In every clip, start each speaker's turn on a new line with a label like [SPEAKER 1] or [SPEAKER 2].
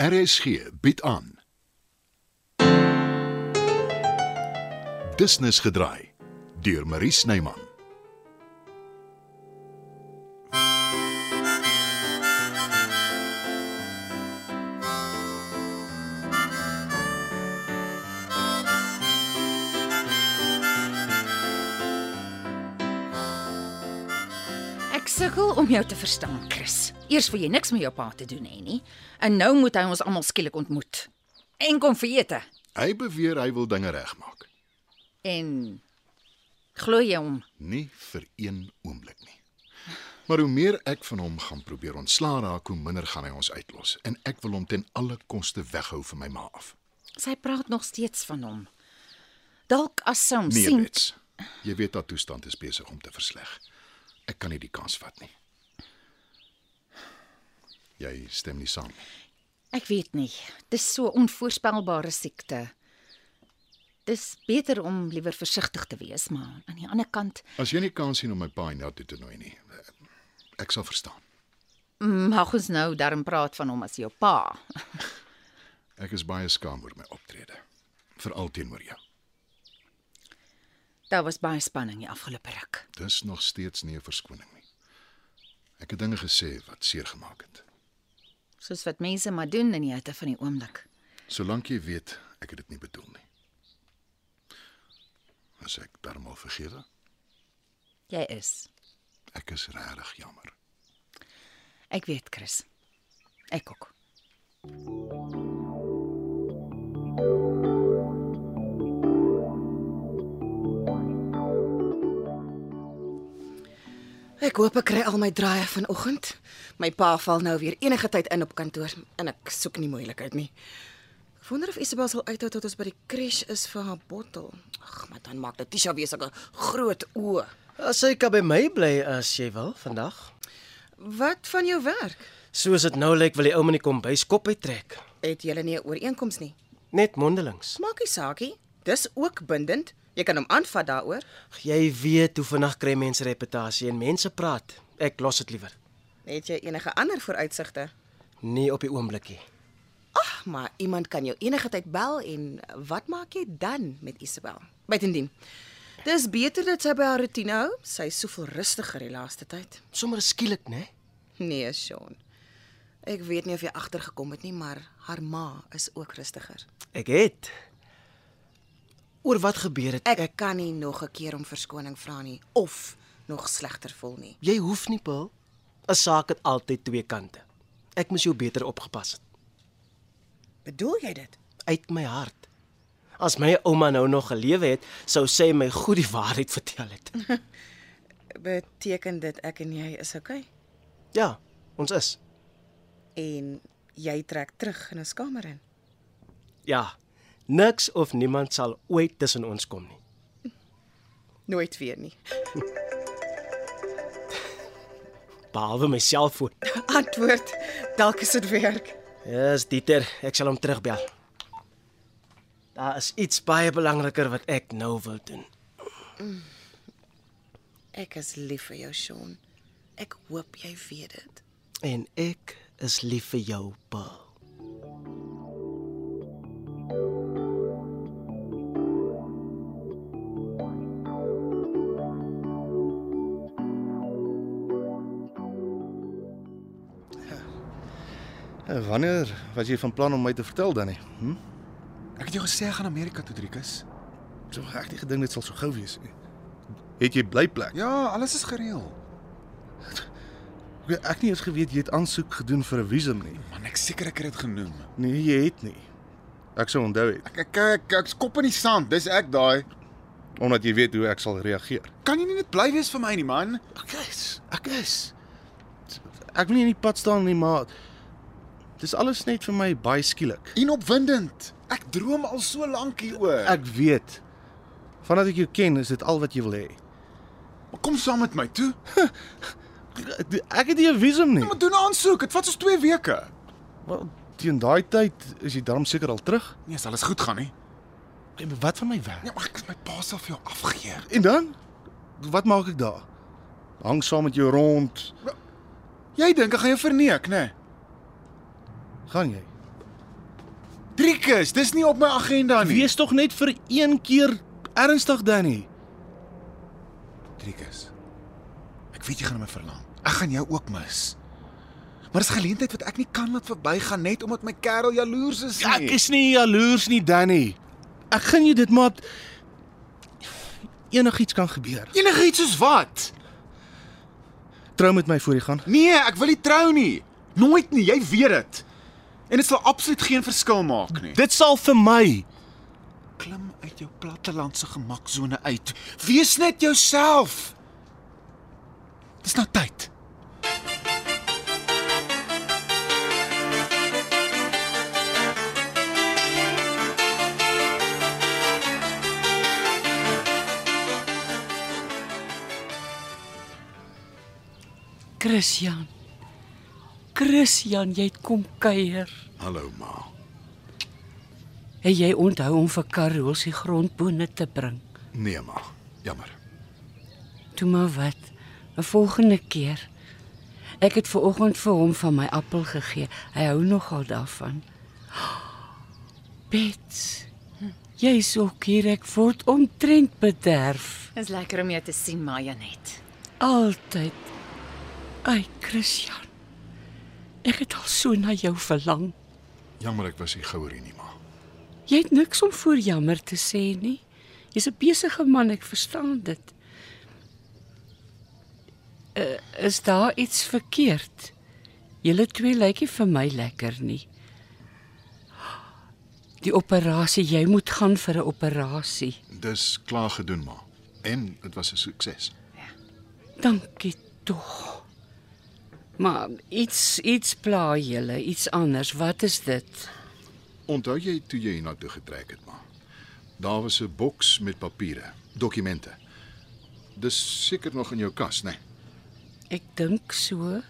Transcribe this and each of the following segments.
[SPEAKER 1] RSG bied aan. Business gedraai deur Marie Snyman.
[SPEAKER 2] Ek sukkel om jou te verstaan, Chris. Eers wil jy niks met jou pa te doen hê nie, en nou moet hy ons almal skielik ontmoet en kom vir ete.
[SPEAKER 1] Hy beweer hy wil dinge regmaak.
[SPEAKER 2] En glo jy hom?
[SPEAKER 1] Nie vir een oomblik nie. Maar hoe meer ek van hom gaan probeer ontslaa raak, hoe minder gaan hy ons uitlos en ek wil hom ten alle koste weghou van my ma af.
[SPEAKER 2] Sy praat nog steeds van hom. Dalk as sy hom
[SPEAKER 1] Nee,
[SPEAKER 2] sien.
[SPEAKER 1] Bets. Jy weet haar toestand is besig om te versleg. Ek kan nie die kans vat nie. Jy stem nie saam nie.
[SPEAKER 2] Ek weet nie. Dis so 'n onvoorspelbare siekte. Dis beter om liewer versigtig te wees, maar aan die ander kant
[SPEAKER 1] As jy nie kans sien om my pa hiernatoe te nooi nie, ek sal verstaan.
[SPEAKER 2] mag ons nou darm praat van hom as jou pa.
[SPEAKER 1] Ek is baie skaam oor my optrede, veral teenoor jou.
[SPEAKER 2] Daar was baie spanning die afgelope ruk.
[SPEAKER 1] Dis nog steeds nie 'n verskoning nie. Ek het dinge gesê wat seer gemaak het.
[SPEAKER 2] soos wat mense maar doen in die hitte van die oomblik.
[SPEAKER 1] Solank jy weet ek het dit nie bedoel nie. As ek darmal vergewe,
[SPEAKER 2] Jy is.
[SPEAKER 1] ek is regtig jammer.
[SPEAKER 2] Ek weet, Chris. Ek ook.
[SPEAKER 3] Ek hoop ek kry al my draaie vanoggend. My pa val nou weer enige tyd in op kantoor en ek soek nie moeilikheid nie. Ek wonder of Isabel sal uithou tot ons by die crash is vir haar bottel. Ag, maar dan maak Letitia weer sulke groot oë.
[SPEAKER 4] As jy kan by my bly as jy wil vandag.
[SPEAKER 3] Wat van jou werk?
[SPEAKER 4] Soos dit nou lyk, wil die ou man nie kom bys kop uittrek.
[SPEAKER 3] Het julle nie 'n ooreenkoms nie?
[SPEAKER 4] Net mondelings.
[SPEAKER 3] Maak nie saak nie. Dis ook bindend. Jy kan hom aanvat daaroor.
[SPEAKER 4] Ag, Jy weet hoe vinnig kry mense reputasie en mense praat. Ek los dit liewer.
[SPEAKER 3] Het jy enige ander vooruitsigte?
[SPEAKER 4] Nie op die oomblikie.
[SPEAKER 3] Ag, maar iemand kan jou enige tyd bel en wat maak jy dan met Isabel? Buitendien. Dis beter dat sy by haar rotine hou. Sy is soveel rustiger die laaste tyd.
[SPEAKER 4] Sommige skielik, né?
[SPEAKER 3] Nee, Sean. Ek weet nie of jy agtergekom het nie, maar haar ma is ook rustiger.
[SPEAKER 4] Ek het oor wat gebeur het.
[SPEAKER 3] Ek, ek kan nie nog 'n keer om verskoning vra nie of nog slegter voel nie.
[SPEAKER 4] Jy hoef nie, Paul. 'n Saak het altyd twee kante. Ek moes jou beter opgepas het
[SPEAKER 3] Bedoel jy dit?
[SPEAKER 4] uit my hart. As my ouma nou nog gelewe het, sou sy my goed die waarheid vertel het.
[SPEAKER 3] Beteken dit ek en jy is okay?
[SPEAKER 4] Ja, ons is.
[SPEAKER 3] En jy trek terug in ons kamer in.
[SPEAKER 4] Ja. Niks of niemand sal ooit tussen ons kom nie.
[SPEAKER 3] Nooit weer nie.
[SPEAKER 4] Behalwe my selfoon.
[SPEAKER 3] Antwoord. Dalk is dit werk.
[SPEAKER 4] Yes, Dieter, ek sal hom terugbel. Daar is iets baie belangriker wat ek nou wil doen.
[SPEAKER 3] Ek is lief vir jou, Sean. Ek hoop jy weet dit.
[SPEAKER 4] En ek is lief vir jou, Paul.
[SPEAKER 5] En wanneer was jy van plan om my te vertel dan nie? Hm?
[SPEAKER 6] Ek het jou gesê ek gaan Amerika toe, Driekus.
[SPEAKER 5] So ek het nie gedink dit sal so gou wees nie. Het jy blyplek?
[SPEAKER 6] Ja, alles is gereël.
[SPEAKER 5] Ek ek nie eens geweet jy het aansoek gedoen vir 'n visum nie.
[SPEAKER 6] Man, ek seker ek het dit genoem.
[SPEAKER 5] Nee, jy het nie. Ek sou onthou het
[SPEAKER 6] Ek ek ek, ek skop in die sand. Dis ek daai.
[SPEAKER 5] omdat jy weet hoe ek sal reageer.
[SPEAKER 6] Kan jy nie net bly wees vir my nie, man?
[SPEAKER 5] Ek is. Ek is. Ek wil nie in die pad staan nie, maar dis alles net vir my baie skielik.
[SPEAKER 6] Inopwindend. Ek droom al so lank hieroor.
[SPEAKER 5] Ek weet. Vandat ek jou ken, is dit al wat jy wil hê.
[SPEAKER 6] Maar kom saam met my toe.
[SPEAKER 5] Ek het nie 'n visum nie.
[SPEAKER 6] Maar doen 'n aansoek. Dit vat ons 2 weke.
[SPEAKER 5] Wel, teen daai tyd is jy darm seker al terug.
[SPEAKER 6] Nee, as alles goed gaan nie.
[SPEAKER 5] Nee, Wat van my werk?
[SPEAKER 6] Ja, maar ek my pa sal vir jou afgee.
[SPEAKER 5] En dan? Wat maak ek daar? Hang saam met jou rond.
[SPEAKER 6] Jy dink ek gaan jou verneek, né? Nee?
[SPEAKER 5] Gaan jy?
[SPEAKER 6] Rikus, dis nie op my agenda nie.
[SPEAKER 5] Wees tog net vir een keer ernstig, Danny.
[SPEAKER 6] Rikus. Ek weet jy gaan na my verlang. Ek gaan jou ook mis. Maar dis 'n geleentheid wat ek nie kan laat verbygaan net omdat my kerel jaloers is nie.
[SPEAKER 5] Ja, Ek is nie jaloers nie, Danny. Ek gun jou dit maar enigiets kan gebeur.
[SPEAKER 6] enigiets soos wat.
[SPEAKER 5] Trou met my voor jy gaan.
[SPEAKER 6] Nee, ek wil nie trou nie. Nooit nie, jy weet dit. En dit sal absoluut geen verskil maak nie.
[SPEAKER 5] Dit sal vir my.
[SPEAKER 6] klim uit jou plattelandse gemaksone uit. Wees net jouself. Dis nou tyd.
[SPEAKER 7] Christian. Christian, jy het kom kuier.
[SPEAKER 1] Hallo ma.
[SPEAKER 7] Het jy onthou om vir Karel se grondbone te bring?
[SPEAKER 1] Nee ma. Jammer.
[SPEAKER 7] Toe maar wat. 'n Volgende keer. Ek het ver oggend vir hom van my appel gegee. Hy hou nogal daarvan. Bets. Jy's ook hier ek word omtrent bederf.
[SPEAKER 2] Dis lekker om jou te sien, Maya net.
[SPEAKER 7] Altyd. Ai, Christian. Ek het al so na jou verlang.
[SPEAKER 1] Jammer ek was nie gouer hier nie ma.
[SPEAKER 7] Jy het niks om voor jammer te sê nie. Jy's 'n besige man, ek verstaan dit. Uh, is daar iets verkeerd? Julle twee lyk nie vir my lekker nie. Die operasie, jy moet gaan vir 'n operasie.
[SPEAKER 1] Dis klaar gedoen ma. En dit was 'n sukses.
[SPEAKER 7] Dankie tog. Maar iets iets pla julle, iets anders. Wat is dit?
[SPEAKER 1] Onthou jy toe jy hiernatoe getrek het, ma? Daar was 'n boks met papiere, dokumente. Dis seker nog in jou kas, né? Nee?
[SPEAKER 7] Ek dink so. Uh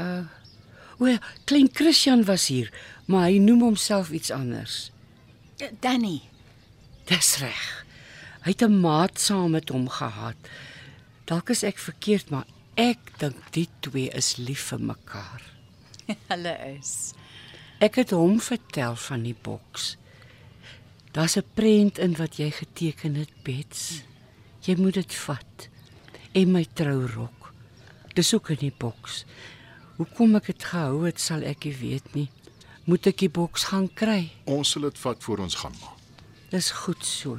[SPEAKER 7] O, ja, klein Christian was hier, maar hy noem homself iets anders.
[SPEAKER 2] Eh, Danny,
[SPEAKER 7] Dis reg. Hy het 'n maat saam met hom gehad. Dalk is ek verkeerd, maar ek dink die twee is lief vir mekaar.
[SPEAKER 2] hulle is.
[SPEAKER 7] Ek het hom vertel van die boks. Daar's 'n prent in wat jy geteken het, Bets. Jy moet dit vat. En my trourok. Dis ook in die boks. Hoekom ek dit gehou het, sal ek nie weet nie. Moet ek die boks gaan kry?
[SPEAKER 1] Ons sal dit vat voor ons gaan, ma.
[SPEAKER 7] Dis goed so.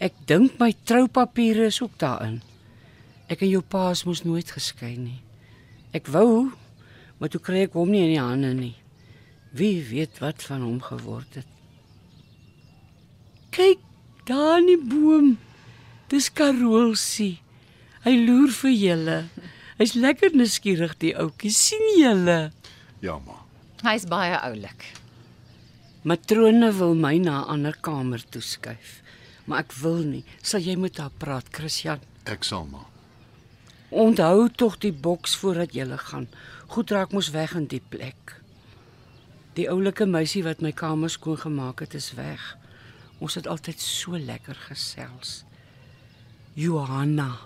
[SPEAKER 7] Ek dink my troupapiere is ook daarin. Ek en jou pa is mos nooit geskei nie. Ek wou, maar toe kry ek hom nie in die hande nie. Wie weet wat van hom geword het. Kyk, daar in die boom. Dis Karolsie. Hy loer vir julle. Hy's lekker nuuskierig die ouetjie. sien julle?
[SPEAKER 1] Ja, ma.
[SPEAKER 2] Hy's baie oulik.
[SPEAKER 7] Matrone wil my na 'n ander kamer toeskuif, maar ek wil nie. Sal jy met haar praat, Christian?
[SPEAKER 1] Ek sal, ma.
[SPEAKER 7] Onthou tog die boks voordat jy gaan. Goed raak mos weg in die plek. Die oulike meisie wat my kamer skoon gemaak het, is weg. Ons het altyd so lekker gesels. Johanna.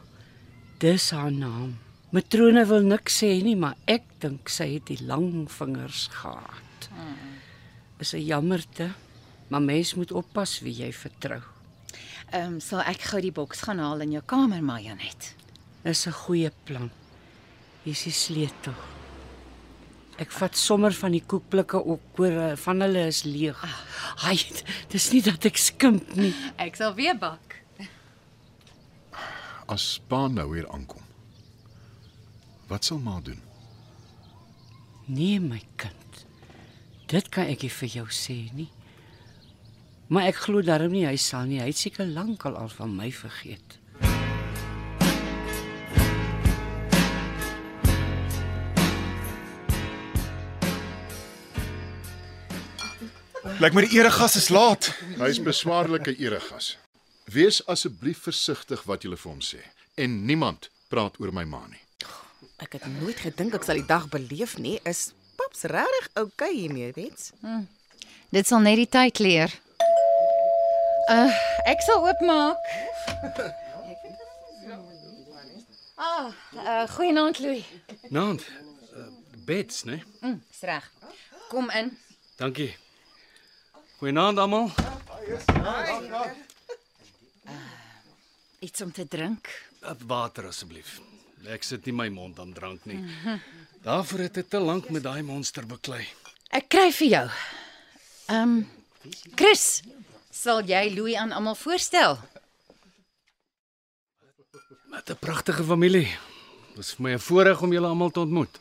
[SPEAKER 7] Dis haar naam. Matrone wil niks sê nie, maar ek dink sy het die lang vingers gehad. Is 'n jammerte, maar mens moet oppas wie jy vertrou.
[SPEAKER 2] Ehm um, sal ek gou die boks gaan haal in jou kamer, Maya net.
[SPEAKER 7] Dis 'n goeie plan. Hier's die sleutel. Ek vat sommer van die koekblikke op, oor eh, van hulle is leeg. Haai, dis nie dat ek skimp nie.
[SPEAKER 2] Ek sal weer bak.
[SPEAKER 1] As pa nou hier aankom. Wat sal ma doen?
[SPEAKER 7] Nee, my kind. Dit kan ek nie vir jou sê nie. Maar ek glo darm nie hy sal nie. Hy het seker lankal al van my vergeet.
[SPEAKER 6] Lyk my die eregas is laat.
[SPEAKER 1] Hy's beswaarlike eregas. Wees asseblief versigtig wat jy vir hom sê en niemand praat oor my ma nie.
[SPEAKER 3] Ek het nooit gedink ek sal die dag beleef nie. Is paps regtig oukei okay hiermee, weet?
[SPEAKER 2] Dit sal net die tyd leer. Uh, ek sal oopmaak. Ah, uh, goeienaand Louis.
[SPEAKER 8] Naand. Uh, Eh, beds, né?
[SPEAKER 2] Mm, is reg. Kom in.
[SPEAKER 8] Dankie.
[SPEAKER 5] Goeienaand almal.
[SPEAKER 2] Iets om te drink.
[SPEAKER 5] Op water asseblief. Ek sit nie my mond aan drank nie. Daarvoor het ek te lank met daai monster beklei.
[SPEAKER 2] Ek kry vir jou. Ehm um, Chris, sal jy Louis aan almal voorstel?
[SPEAKER 5] Wat 'n pragtige familie. Dis vir my 'n voorreg om julle almal te ontmoet.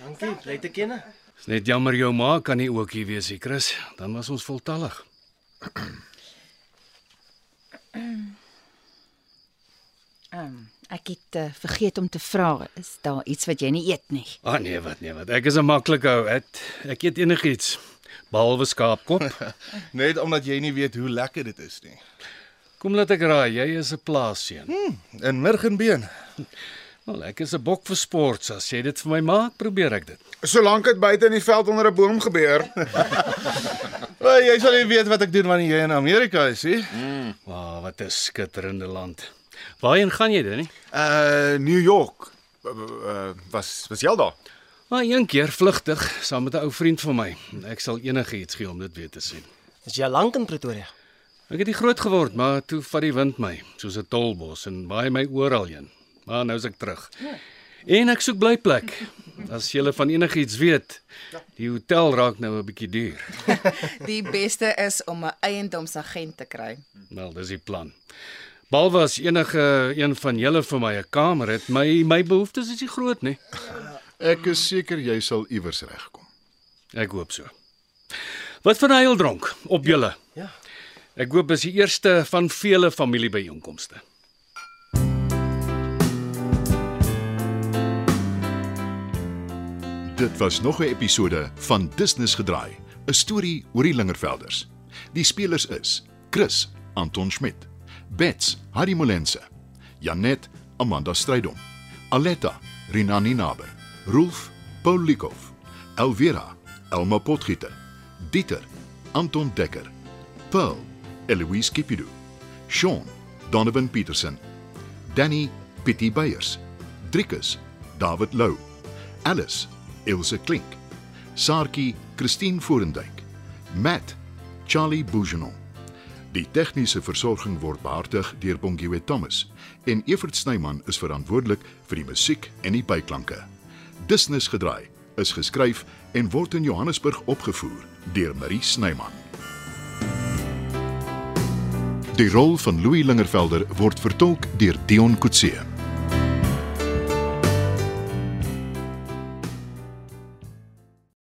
[SPEAKER 4] Dankie, bly te ken.
[SPEAKER 5] Dis net jammer jou ma kan nie ook hier wees nie, Chris. Dan was ons voltallig.
[SPEAKER 2] Ek het uh, vergeet om te vra, is daar iets wat jy nie eet nie?
[SPEAKER 5] Ah oh, nee, wat nee, wat. Ek is 'n maklike ou. Ek ek eet enigiets behalwe skaapkop.
[SPEAKER 9] Net omdat jy nie weet hoe lekker dit is nie.
[SPEAKER 5] Kom laat ek raai, jy is 'n plaasseun.
[SPEAKER 9] In Murgenbeen.
[SPEAKER 5] Wel, ek is 'n bok vir sports. As jy dit vir my maak, probeer ek dit.
[SPEAKER 6] Solank dit buite in die veld onder 'n boom gebeur.
[SPEAKER 9] Wel, jy sal nie weet wat ek doen wanneer jy in Amerika is, hè?
[SPEAKER 5] Wa, wat 'n skitterende land. Waarheen gaan jy dan nie?
[SPEAKER 6] Uh New York. Uh, uh, was was jy al daar?
[SPEAKER 5] Maar een keer vlugtig saam met 'n ou vriend van my. Ek sal enigiets gee om dit weer te sien.
[SPEAKER 4] Is jy al lank in Pretoria?
[SPEAKER 5] Ek het nie groot geword, maar toe vat die wind my, soos 'n tolbos en waai my oral heen. Maar nou is ek terug. En ek soek blyplek. As jy van enigiets weet, die hotel raak nou 'n bietjie duur.
[SPEAKER 10] Die beste is om 'n eiendomsagent te kry.
[SPEAKER 5] Wel, dis die plan. Behalwe as enige een van julle vir my 'n kamer het, my my behoeftes is nie groot nie.
[SPEAKER 1] Ek is seker jy sal iewers regkom.
[SPEAKER 5] Ek hoop so. Wat van hyel dronk op julle? Ja. Ek hoop is die eerste van vele familiebyeenkomste.
[SPEAKER 1] Dit was nog 'n episode van Business gedraai, 'n storie oor die Lingervelders. Die spelers is Chris Anton Schmidt, Bets Harry Molense, Janet Amanda Strydom, Aletta Rinani Naber, Rolf Paul Likoff, Elvira Elma Potgieter, Dieter Anton Dekker, Pearl Eloise Kipido, Sean Donovan Petersen, Danny Pietie Beyers, Driekus David Lou, Alice Ilse Klink, Saartjie Christine Forendyk, Matt Charlie Bougenon. Die tegniese versorging word behartig deur Bongwe Thomas en Evert Snyman is verantwoordelik vir die musiek en die byklanke. Dusnus gedraai is geskryf en word in Johannesburg opgevoer deur Marie Snyman. Die rol van Louis Lingervelder word vertolk deur Dion Coetzee.